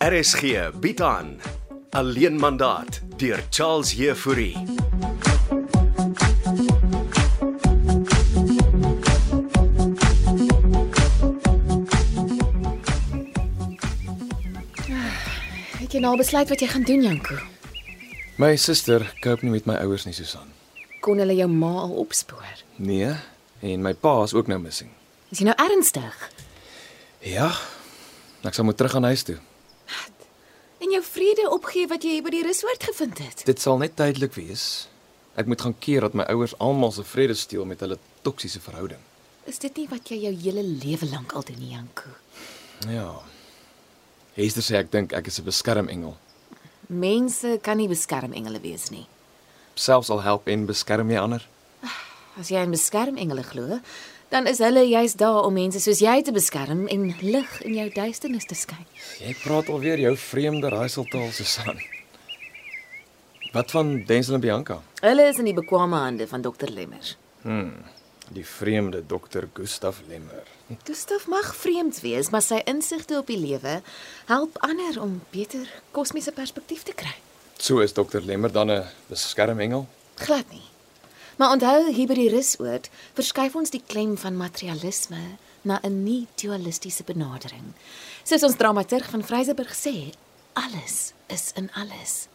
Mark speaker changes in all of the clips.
Speaker 1: RSG bied aan Alleen mandaat deur Charles Heffouri.
Speaker 2: Het jy nou al besluit wat jy gaan doen, Janko?
Speaker 3: My suster koop nie met my ouers nie, Susan.
Speaker 2: Kon hulle jou ma al opspoor?
Speaker 3: Nee, en my pa is ook nou missing.
Speaker 2: Is jy nou ernstig?
Speaker 3: Ja. Ek sal moet terug aan huis toe.
Speaker 2: En jou vrede opgee wat jy by die resort gevind het?
Speaker 3: Dit sal net tydelik wees. Ek moet gaan keer dat my ouers almal se vrede steel met hulle toksiese verhouding.
Speaker 2: Is dit nie wat jy jou hele lewe lank al doen, nie, Janko?
Speaker 3: Ja. Hester sê ek dink ek is 'n beskermengel.
Speaker 2: Mense kan nie beskermengele wees nie.
Speaker 3: Selfs al help en beskerm jy ander.
Speaker 2: As jy in beskermengele glo, dan is hulle juis daar om mense soos jy te beskerm en lig in jou duisternis te skyn.
Speaker 3: Jy praat alweer jou vreemde raaiseltaal, Susan. Wat van Denzel en Bianca?
Speaker 2: Hulle is in die bekwame hande van dokter Lemmer.
Speaker 3: Die vreemde dokter Gustaf Lemmer.
Speaker 2: Gustav mag vreemd wees, maar sy insigte op die lewe help ander om beter kosmiese perspektief te kry.
Speaker 3: So is dokter Lemmer dan 'n beskermengel?
Speaker 2: Glad nie. Maar onthou hier by die rusoord verskuif ons die klem van materialisme na 'n nie-dualistiese benadering. Soos ons dramaturg van Vryseburg sê, alles is in alles.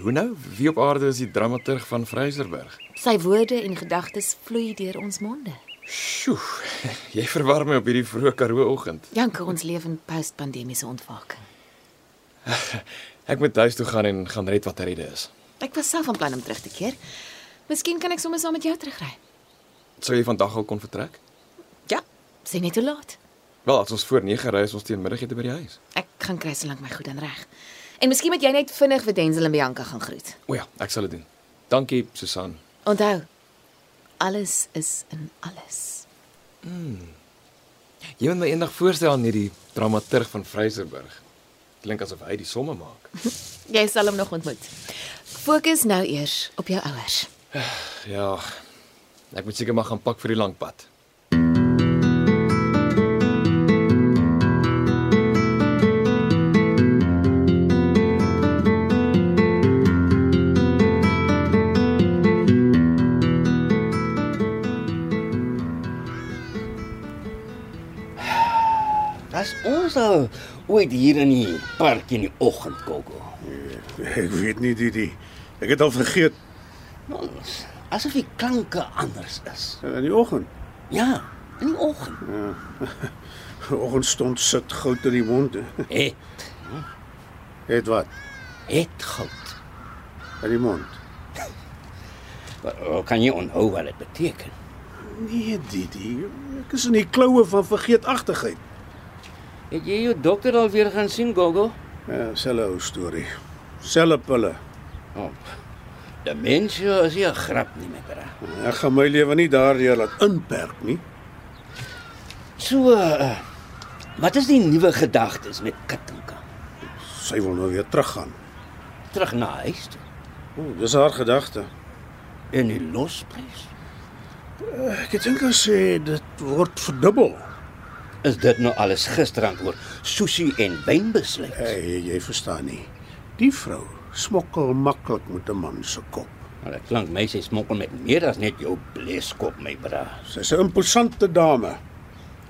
Speaker 3: Hoe nou? Wie op aarde is die dramaturg van Vryserberg?
Speaker 2: Sy woorde en gedagtes vloei deur ons monde.
Speaker 3: Sjoe, jy verwar my op hierdie vroeë Karoo oggend.
Speaker 2: Janke, ons leef in post-pandemiese ontwaking.
Speaker 3: Ek moet huis toe gaan en gaan red wat te redde is.
Speaker 2: Ek was self van plan om terug te keer. Miskien kan ek sommer saam met jou terugry.
Speaker 3: Sou jy vandag al kon vertrek?
Speaker 2: Ja, sê net hoe laat.
Speaker 3: Wel, as ons voor 9 ry is ons teen middagete by die huis.
Speaker 2: Ek gaan kry solank my goed en reg. En miskien moet jy net vinnig vir Denzel en Bianca gaan groet.
Speaker 3: O ja, ek sal dit doen. Dankie, Susan.
Speaker 2: Onthou, alles is in alles.
Speaker 3: Jy moet my eendag voorstel aan hierdie dramaturg van Vryserberg. Klink asof hy die somme maak.
Speaker 2: Jy sal hom nog ontmoet. Fokus nou eers op jou ouers.
Speaker 3: Ja. Ek moet seker maar gaan pak vir die lang pad.
Speaker 4: Was ons al ooit hier in die park in die oggend kokkel.
Speaker 5: Ek weet nie die die. Ek het al vergeet
Speaker 4: Ons asof die klanke anders is.
Speaker 5: in die oggend.
Speaker 4: Ja, in die oggend.
Speaker 5: Oggend stond sit goud in die mond.
Speaker 4: Het
Speaker 5: Het wat
Speaker 4: het goud.
Speaker 5: in die mond.
Speaker 4: Maar oh, kan jy onthou wat dit beteken?
Speaker 5: Nee, Didi, ek is in die kloue van vergeetachtigheid.
Speaker 4: Het jy jou dokter al weer gaan sien, Gogo?
Speaker 5: Ja, selfe ou storie. Selfe pille.
Speaker 4: Oh, demensie is nie 'n grap nie, my bra.
Speaker 5: Ek gaan my lewe nie daardeur laat inperk nie.
Speaker 4: So, uh, wat is die nuwe gedagtes met Katinka?
Speaker 5: Sy wil nou weer teruggaan.
Speaker 4: Terug na huis toe.
Speaker 5: O, dis haar gedagte.
Speaker 4: En die losprys?
Speaker 5: Ek het dink gesê dit word verdubbel.
Speaker 4: Is dit nou alles gisterand oor sushi en wyn besluit?
Speaker 5: Hey, jy verstaan nie. Die vrou smokkel maklik met 'n man se kop.
Speaker 4: Maar dit klink my sy smokkel met meer as net jou bleeskop, my bra.
Speaker 5: Sy's 'n imposante dame.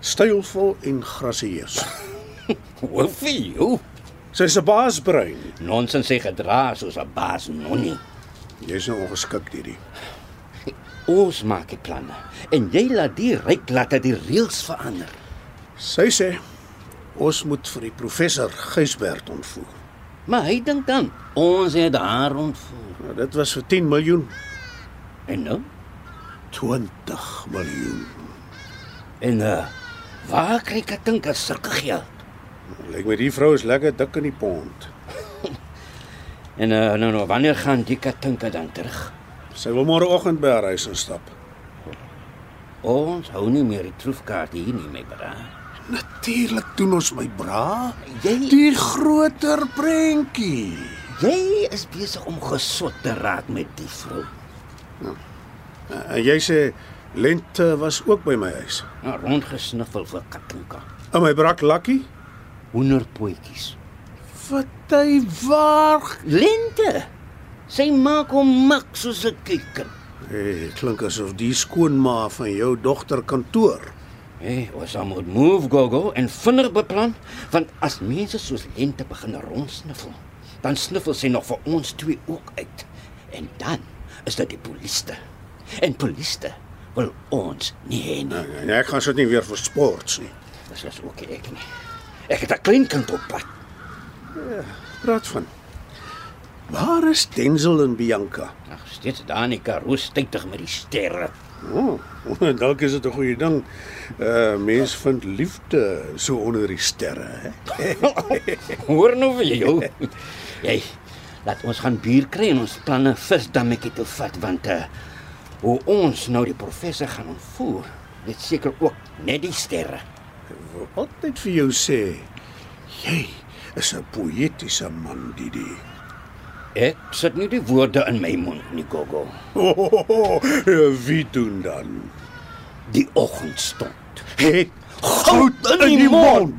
Speaker 5: Stylvol en grasieus.
Speaker 4: Hoof vir jou.
Speaker 5: Sy's 'n baasbrein.
Speaker 4: Nonsens sy gedra soos 'n baas nonnie.
Speaker 5: Jy's nou ongeskik hierdie.
Speaker 4: Ons maak die planne en jy laat die ryk laat dat die reëls verander.
Speaker 5: Sy sê ons moet vir die professor Gysbert ontvoer.
Speaker 4: Maar hy dink dan ons het haar ontvoer.
Speaker 5: Nou, dit was vir 10 miljoen,
Speaker 4: En nou?
Speaker 5: 20 miljoen.
Speaker 4: En uh waar kry ek dink as sulke geld?
Speaker 5: Lyk my die vrou is lekker dik in die pond.
Speaker 4: En uh nou nou wanneer gaan die katinka dan terug?
Speaker 5: Sy wil môreoggend by haar huis instap.
Speaker 4: Ons hou nie meer die troefkaart hier nie, my bra.
Speaker 5: Natuurlik doen ons my bra.
Speaker 4: Jy-
Speaker 5: die groter prentjie.
Speaker 4: Jy is besig om gesot te raak met die vrou.
Speaker 5: En jy sê Lente was ook by my huis.
Speaker 4: Nou rondgesniffel vir katinka.
Speaker 5: In my brak lakkie
Speaker 4: hoenderpotjies.
Speaker 5: Wat hy waar.
Speaker 4: Lente. Sy maak hom mak soos 'n kykkind.
Speaker 5: Hey, klink asof die skoonma van jou dogter kantoor.
Speaker 4: Hey, ons moet move gogo en vinnig beplan, want as mense soos Lente begin rondsniffel, dan sniffel sy nog vir ons twee ook uit. En dan is dit die polisie. En polisie wil ons nie hê nie.
Speaker 5: Nou, En ek gaan sit nie weer vir sports nie.
Speaker 4: Ah, Dis is ook nie ek nie. Ek het 'n klein kind op pad.
Speaker 5: Praat van. Waar is Denzel en Bianca?
Speaker 4: Nog steeds daar in die karoo stytig met die sterre.
Speaker 5: O, oh, dalk is dit 'n goeie ding. Uh mens vind liefde so onder die sterre, hè?
Speaker 4: Hoor nou vir jou. Jy laat ons gaan bier kry en ons planne visdammetjie toe vat want uh hoe ons nou die professor gaan ontvoer, dit seker ook net die sterre.
Speaker 5: Ek wil altyd vir jou sê, jy is 'n poëtiese man, Didi.
Speaker 4: Ek sit nie die woorde in my mond nie, Gogo.
Speaker 5: Oh, oh, oh, oh, wie doen dan?
Speaker 4: Die oggend stond.
Speaker 5: Het
Speaker 4: Goud in
Speaker 5: die mond.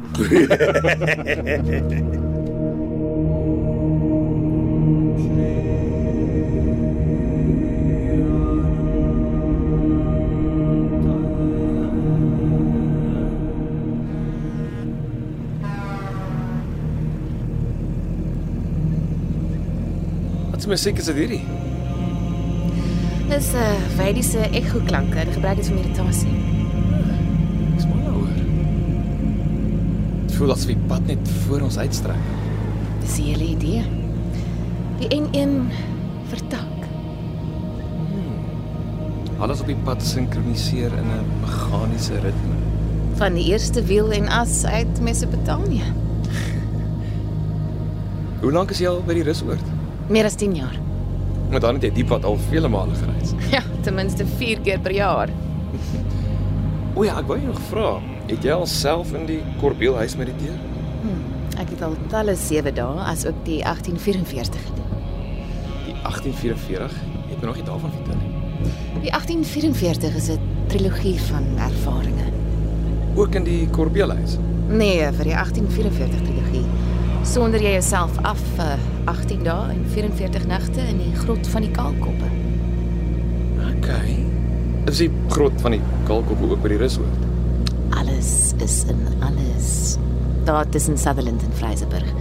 Speaker 3: Wat 'n musiek is dit hierdie?
Speaker 2: Dis 'n uh, wydiese ekho-klanke. Hulle gebruik dit vir meditasie.
Speaker 3: Dis baie hoor. Dit voel asof die pad net voor ons uitstrek.
Speaker 2: Dis die hele idee. Die N1 vertak.
Speaker 3: Alles op die pad sinkroniseer in 'n meganiese ritme.
Speaker 2: van die eerste wiel en as uit Mesopotamië.
Speaker 3: Hoe lank is jy al by die rusoord?
Speaker 2: Meer as 10 jaar.
Speaker 3: Want dan het jy die pad al vele male gereis.
Speaker 2: Ja, ten minste 4 keer per jaar.
Speaker 3: O ja, ek wou jou nog vra, het jy alself in die Korbeelhuis mediteer?
Speaker 2: Ek het al talle 7 dae as ook die 1844 gedoen.
Speaker 3: Die 1844, jy het my nog nie daarvan vertel nie.
Speaker 2: Die 1844 is 'n trilogie van ervarings.
Speaker 3: Ook in die Korbeelhuis.
Speaker 2: Nee, vir die 1844 trilogie sonder jy jouself af vir 18 dae en 44 nagte in die grot van die Kaalkoppe.
Speaker 3: Okay. Is die grot van die Kalkop ook by die rusoord?
Speaker 2: Alles is in alles. Daar tussen Sutherland en Vryseburg.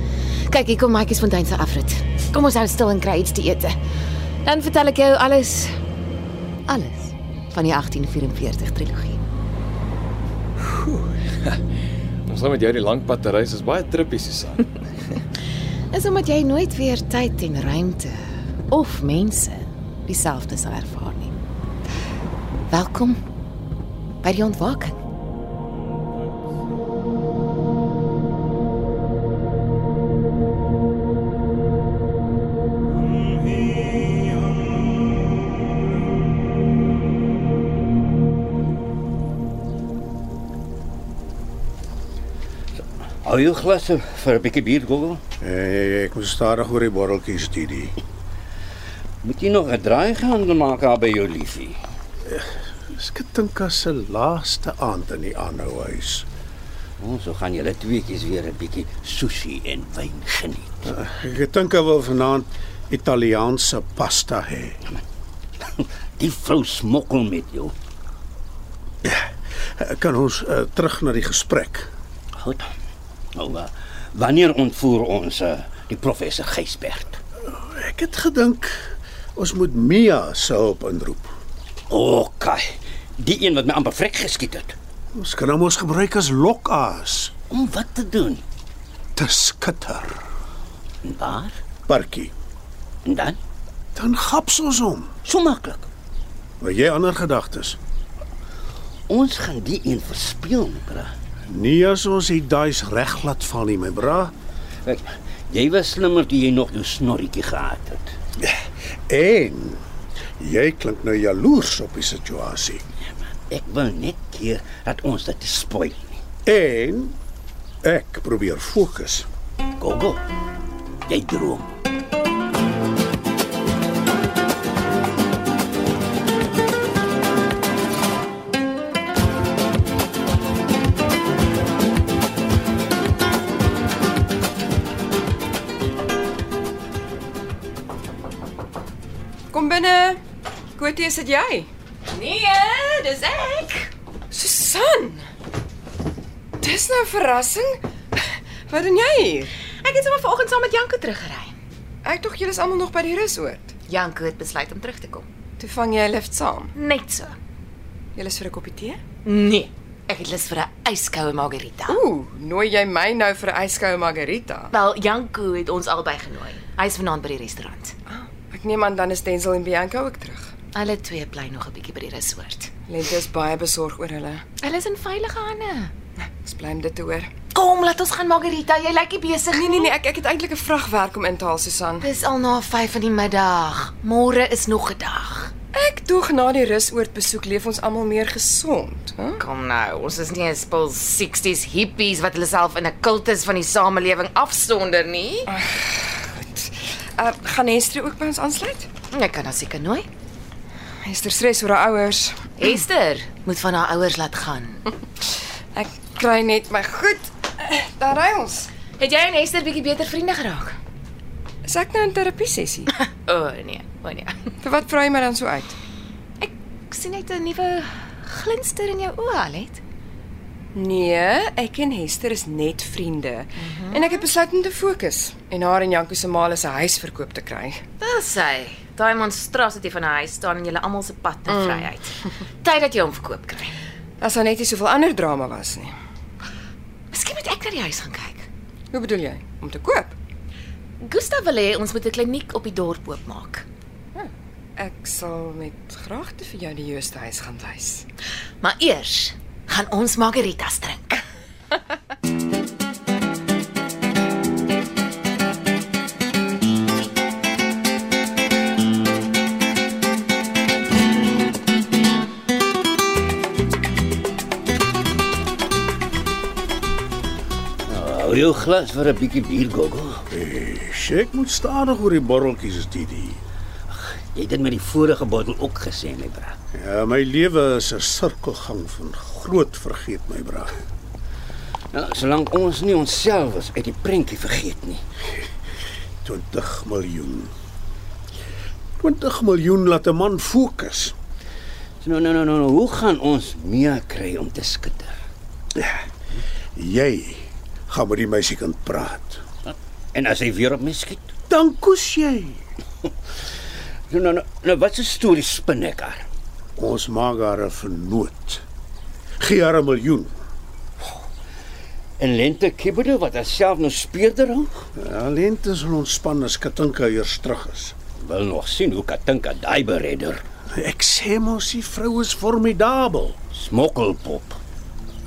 Speaker 2: Kyk, hier kom Maatjies Fontein se afrit. Kom ons hou stil en kry iets te eet. Dan vertel ek jou alles. Alles van die 1844 trilogie.
Speaker 3: Om saam met jou die lang pad te reis is baie trippie, Susan.
Speaker 2: Dis omdat jy nooit weer tyd en ruimte of mense dieselfde sal ervaar nie. Welkom by die ontwaking.
Speaker 4: Hou jou glasse vir 'n bietjie bier, Gogo.
Speaker 5: Hey, ek moet stadig oor die botteltjies, Didi.
Speaker 4: Moet jy nog 'n draai gaan maak daar by jou liefie?
Speaker 5: Skittinka se laaste aand in die aanhouhuis.
Speaker 4: Ons Oh, so gaan julle tweeetjies weer 'n bietjie sushi en wyn geniet.
Speaker 5: Ek dink hy wil vanaand Italiaanse pasta hê.
Speaker 4: Die vrou smokkel met jou.
Speaker 5: Kan ons uh, terug na die gesprek?
Speaker 4: Goed. Nou, uh, wanneer ontvoer ons uh, die professor Gysbert?
Speaker 5: Ek het gedink ons moet Mia se hulp inroep.
Speaker 4: Okay. Die een wat my amper vrek geskiet het.
Speaker 5: Ons kan hom ons gebruik as lokaas.
Speaker 4: Om wat te doen?
Speaker 5: Te skitter.
Speaker 4: En waar?
Speaker 5: Parkie.
Speaker 4: En dan?
Speaker 5: Dan gaps ons hom.
Speaker 4: So maklik.
Speaker 5: Maar jy ander gedagtes.
Speaker 4: Ons gaan die een verspeel, bra.
Speaker 5: Nie as ons die daai's reg laat val nie, my bra.
Speaker 4: Ek, jy was slimmer toe jy nog jou snorretjie gehad het.
Speaker 5: En jy klink nou jaloers op die situasie.
Speaker 4: Ek wil net keer dat ons dit spoil nie.
Speaker 5: En ek probeer fokus.
Speaker 4: Gogo. Jy droom.
Speaker 6: Kotie, sit jy?
Speaker 2: Nee, dis ek.
Speaker 6: Susan. Dis nou 'n verrassing. Wat doen jy hier?
Speaker 2: Ek het sommer vanoggend saam met Janko teruggery.
Speaker 6: Ek tog julle is almal nog by die resort.
Speaker 2: Janko het besluit om terug te kom.
Speaker 6: Toe vang jy 'n lift saam.
Speaker 2: Net so.
Speaker 6: Julle is vir 'n koppie tee?
Speaker 2: Nee, ek het lus vir 'n yskoue margarita.
Speaker 6: Ooh, nooi jy my nou vir 'n yskoue margarita?
Speaker 2: Wel, Janko het ons albei genooi. Hy's vanaand by die restaurant.
Speaker 6: Ek neem aan dan is Denzel en Bianca ook terug.
Speaker 2: Hulle twee bly nog 'n bietjie by die resort.
Speaker 6: Lente is baie besorg oor hulle.
Speaker 2: Hulle is in veilige hande.
Speaker 6: Ons bly om dit te hoor.
Speaker 2: Kom, laat ons gaan margarita. Jy lyk nie besig
Speaker 6: Nee nee nee, ek ek het eintlik 'n vragwerk om in te haal, Susan.
Speaker 2: Dis al na 5 in die middag. Môre is nog 'n dag.
Speaker 6: Ek dog na die rusoord besoek leef ons almal meer gesond, hè?
Speaker 2: Kom nou, ons is nie 'n spul 60s hippies wat hulle self in 'n kultus van die samelewing afsonder nie.
Speaker 6: Uh, gaan Hester ook by ons aansluit?
Speaker 2: Ek kan haar seker nooi.
Speaker 6: Hester stres oor haar ouers.
Speaker 2: Esther moet van haar ouers laat gaan.
Speaker 6: Ek kry net my goed. Eh, Daar ry ons.
Speaker 2: Het jy en Esther bietjie beter vriende geraak?
Speaker 6: Is ek nou in terapie sessie?
Speaker 2: O oh, nee, o oh, nee.
Speaker 6: Vir wat vra jy my dan so uit?
Speaker 2: Ek sien net 'n nuwe glinster in jou oë, Alet.
Speaker 6: Nee, ek en Hester is net vriende. Mm -hmm. En ek het besluit om te fokus en haar en Janko se maal se huis verkoop te kry.
Speaker 2: Dis sy. Daai monstrositeit van haar huis staan in julle almal se pad na mm. vryheid. Tyd dat jy hom verkoop kry.
Speaker 6: As daar net nie soveel ander drama was nie.
Speaker 2: Miskien moet ek na die huis gaan kyk.
Speaker 6: Hoe bedoel jy? Om te koop?
Speaker 2: Gustav wil hê ons moet 'n kliniek op die dorp oopmaak.
Speaker 6: Ek sal met graagte vir jou die juiste huis gaan wys.
Speaker 2: Maar eers gaan ons margaritas drink.
Speaker 4: Hou jou glas vir 'n bietjie bier, Gogo.
Speaker 5: Shek Eh, moet stadig oor die borreltjies, Didi.
Speaker 4: Jy het dit met die vorige bottel ook gesê, my bra.
Speaker 5: Ja, my lewe is 'n sirkelgang van groot vergeet my bra.
Speaker 4: Nou, solank ons nie onsself as uit die prentjie vergeet nie.
Speaker 5: 20 miljoen. 20 miljoen laat 'n man fokus.
Speaker 4: So, nou, nou, nou, nou, hoe gaan ons meer kry om te skitter?
Speaker 5: Ja. Jy gaan met die meisiekind praat.
Speaker 4: En as hy weer op my skiet?
Speaker 5: Dan koes jy.
Speaker 4: Nou, nou, nou, nou wat 'n storie spin ek haar.
Speaker 5: Ons maak haar 'n vernoot. Gee haar 'n miljoen.
Speaker 4: En lente kibbede wat haarself nou speerder hou?
Speaker 5: Alleen te Ja, sal ontspan as Katinka eers terug is.
Speaker 4: Wil nog sien hoe Katinka daai beredder
Speaker 5: Ek sê mos die vrou is formidabel.
Speaker 4: smokkelpop.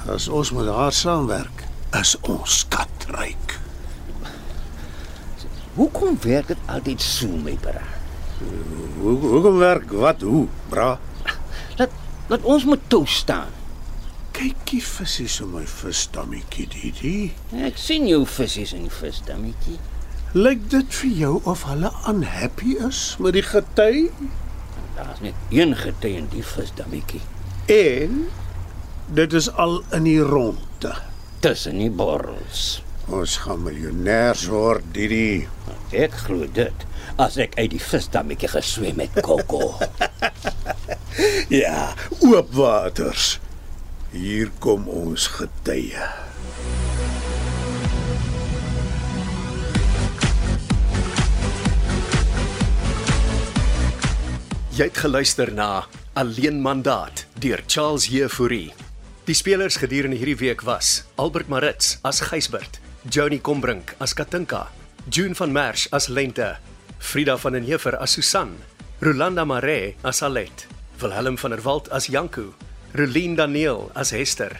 Speaker 5: As ons met haar saamwerk, is ons skatryk.
Speaker 4: Hoekom werk dit altyd so, my bra?
Speaker 5: Hoe hoekom werk wat hoe, bra?
Speaker 4: Laat laat ons moet toe staan.
Speaker 5: Kykie visie so my visstammetjie Didi.
Speaker 4: Ek sien jou visse in die visdammetjie.
Speaker 5: Lyk dit vir jou of hulle unhappy is met die gety?
Speaker 4: Daar's net een gety in die visdammetjie
Speaker 5: En dit is al in die ronde.
Speaker 4: tussen die borrels.
Speaker 5: Ons gaan miljonêers word, Didi.
Speaker 4: Ek glo dit as ek uit die visdammetjie geswem het, Kokko.
Speaker 5: Ja, oop waters. Hier kom ons getye.
Speaker 1: Jy het geluister na Alleen Mandaat deur Charles Jefouri. Die spelers gedurende hierdie week was Albert Maritz as Gysbert, Johnny Combrink as Katinka, June van Merch as Lente, Frida van den Heever as Susan, Rolanda Maree as Alet, Wilhelm van der Walt as Janku, Relien Daniel as Hester,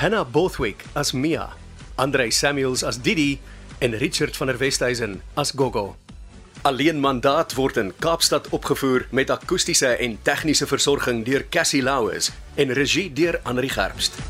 Speaker 1: Hannah Bothwick as Mia, Andrei Samuels as Didi en Richard van der Westhuizen as Gogo. Alleen mandaat word in Kaapstad opgevoer met akoestiese en tegniese versorging deur Cassie Louws en regie deur Anri Gerbst.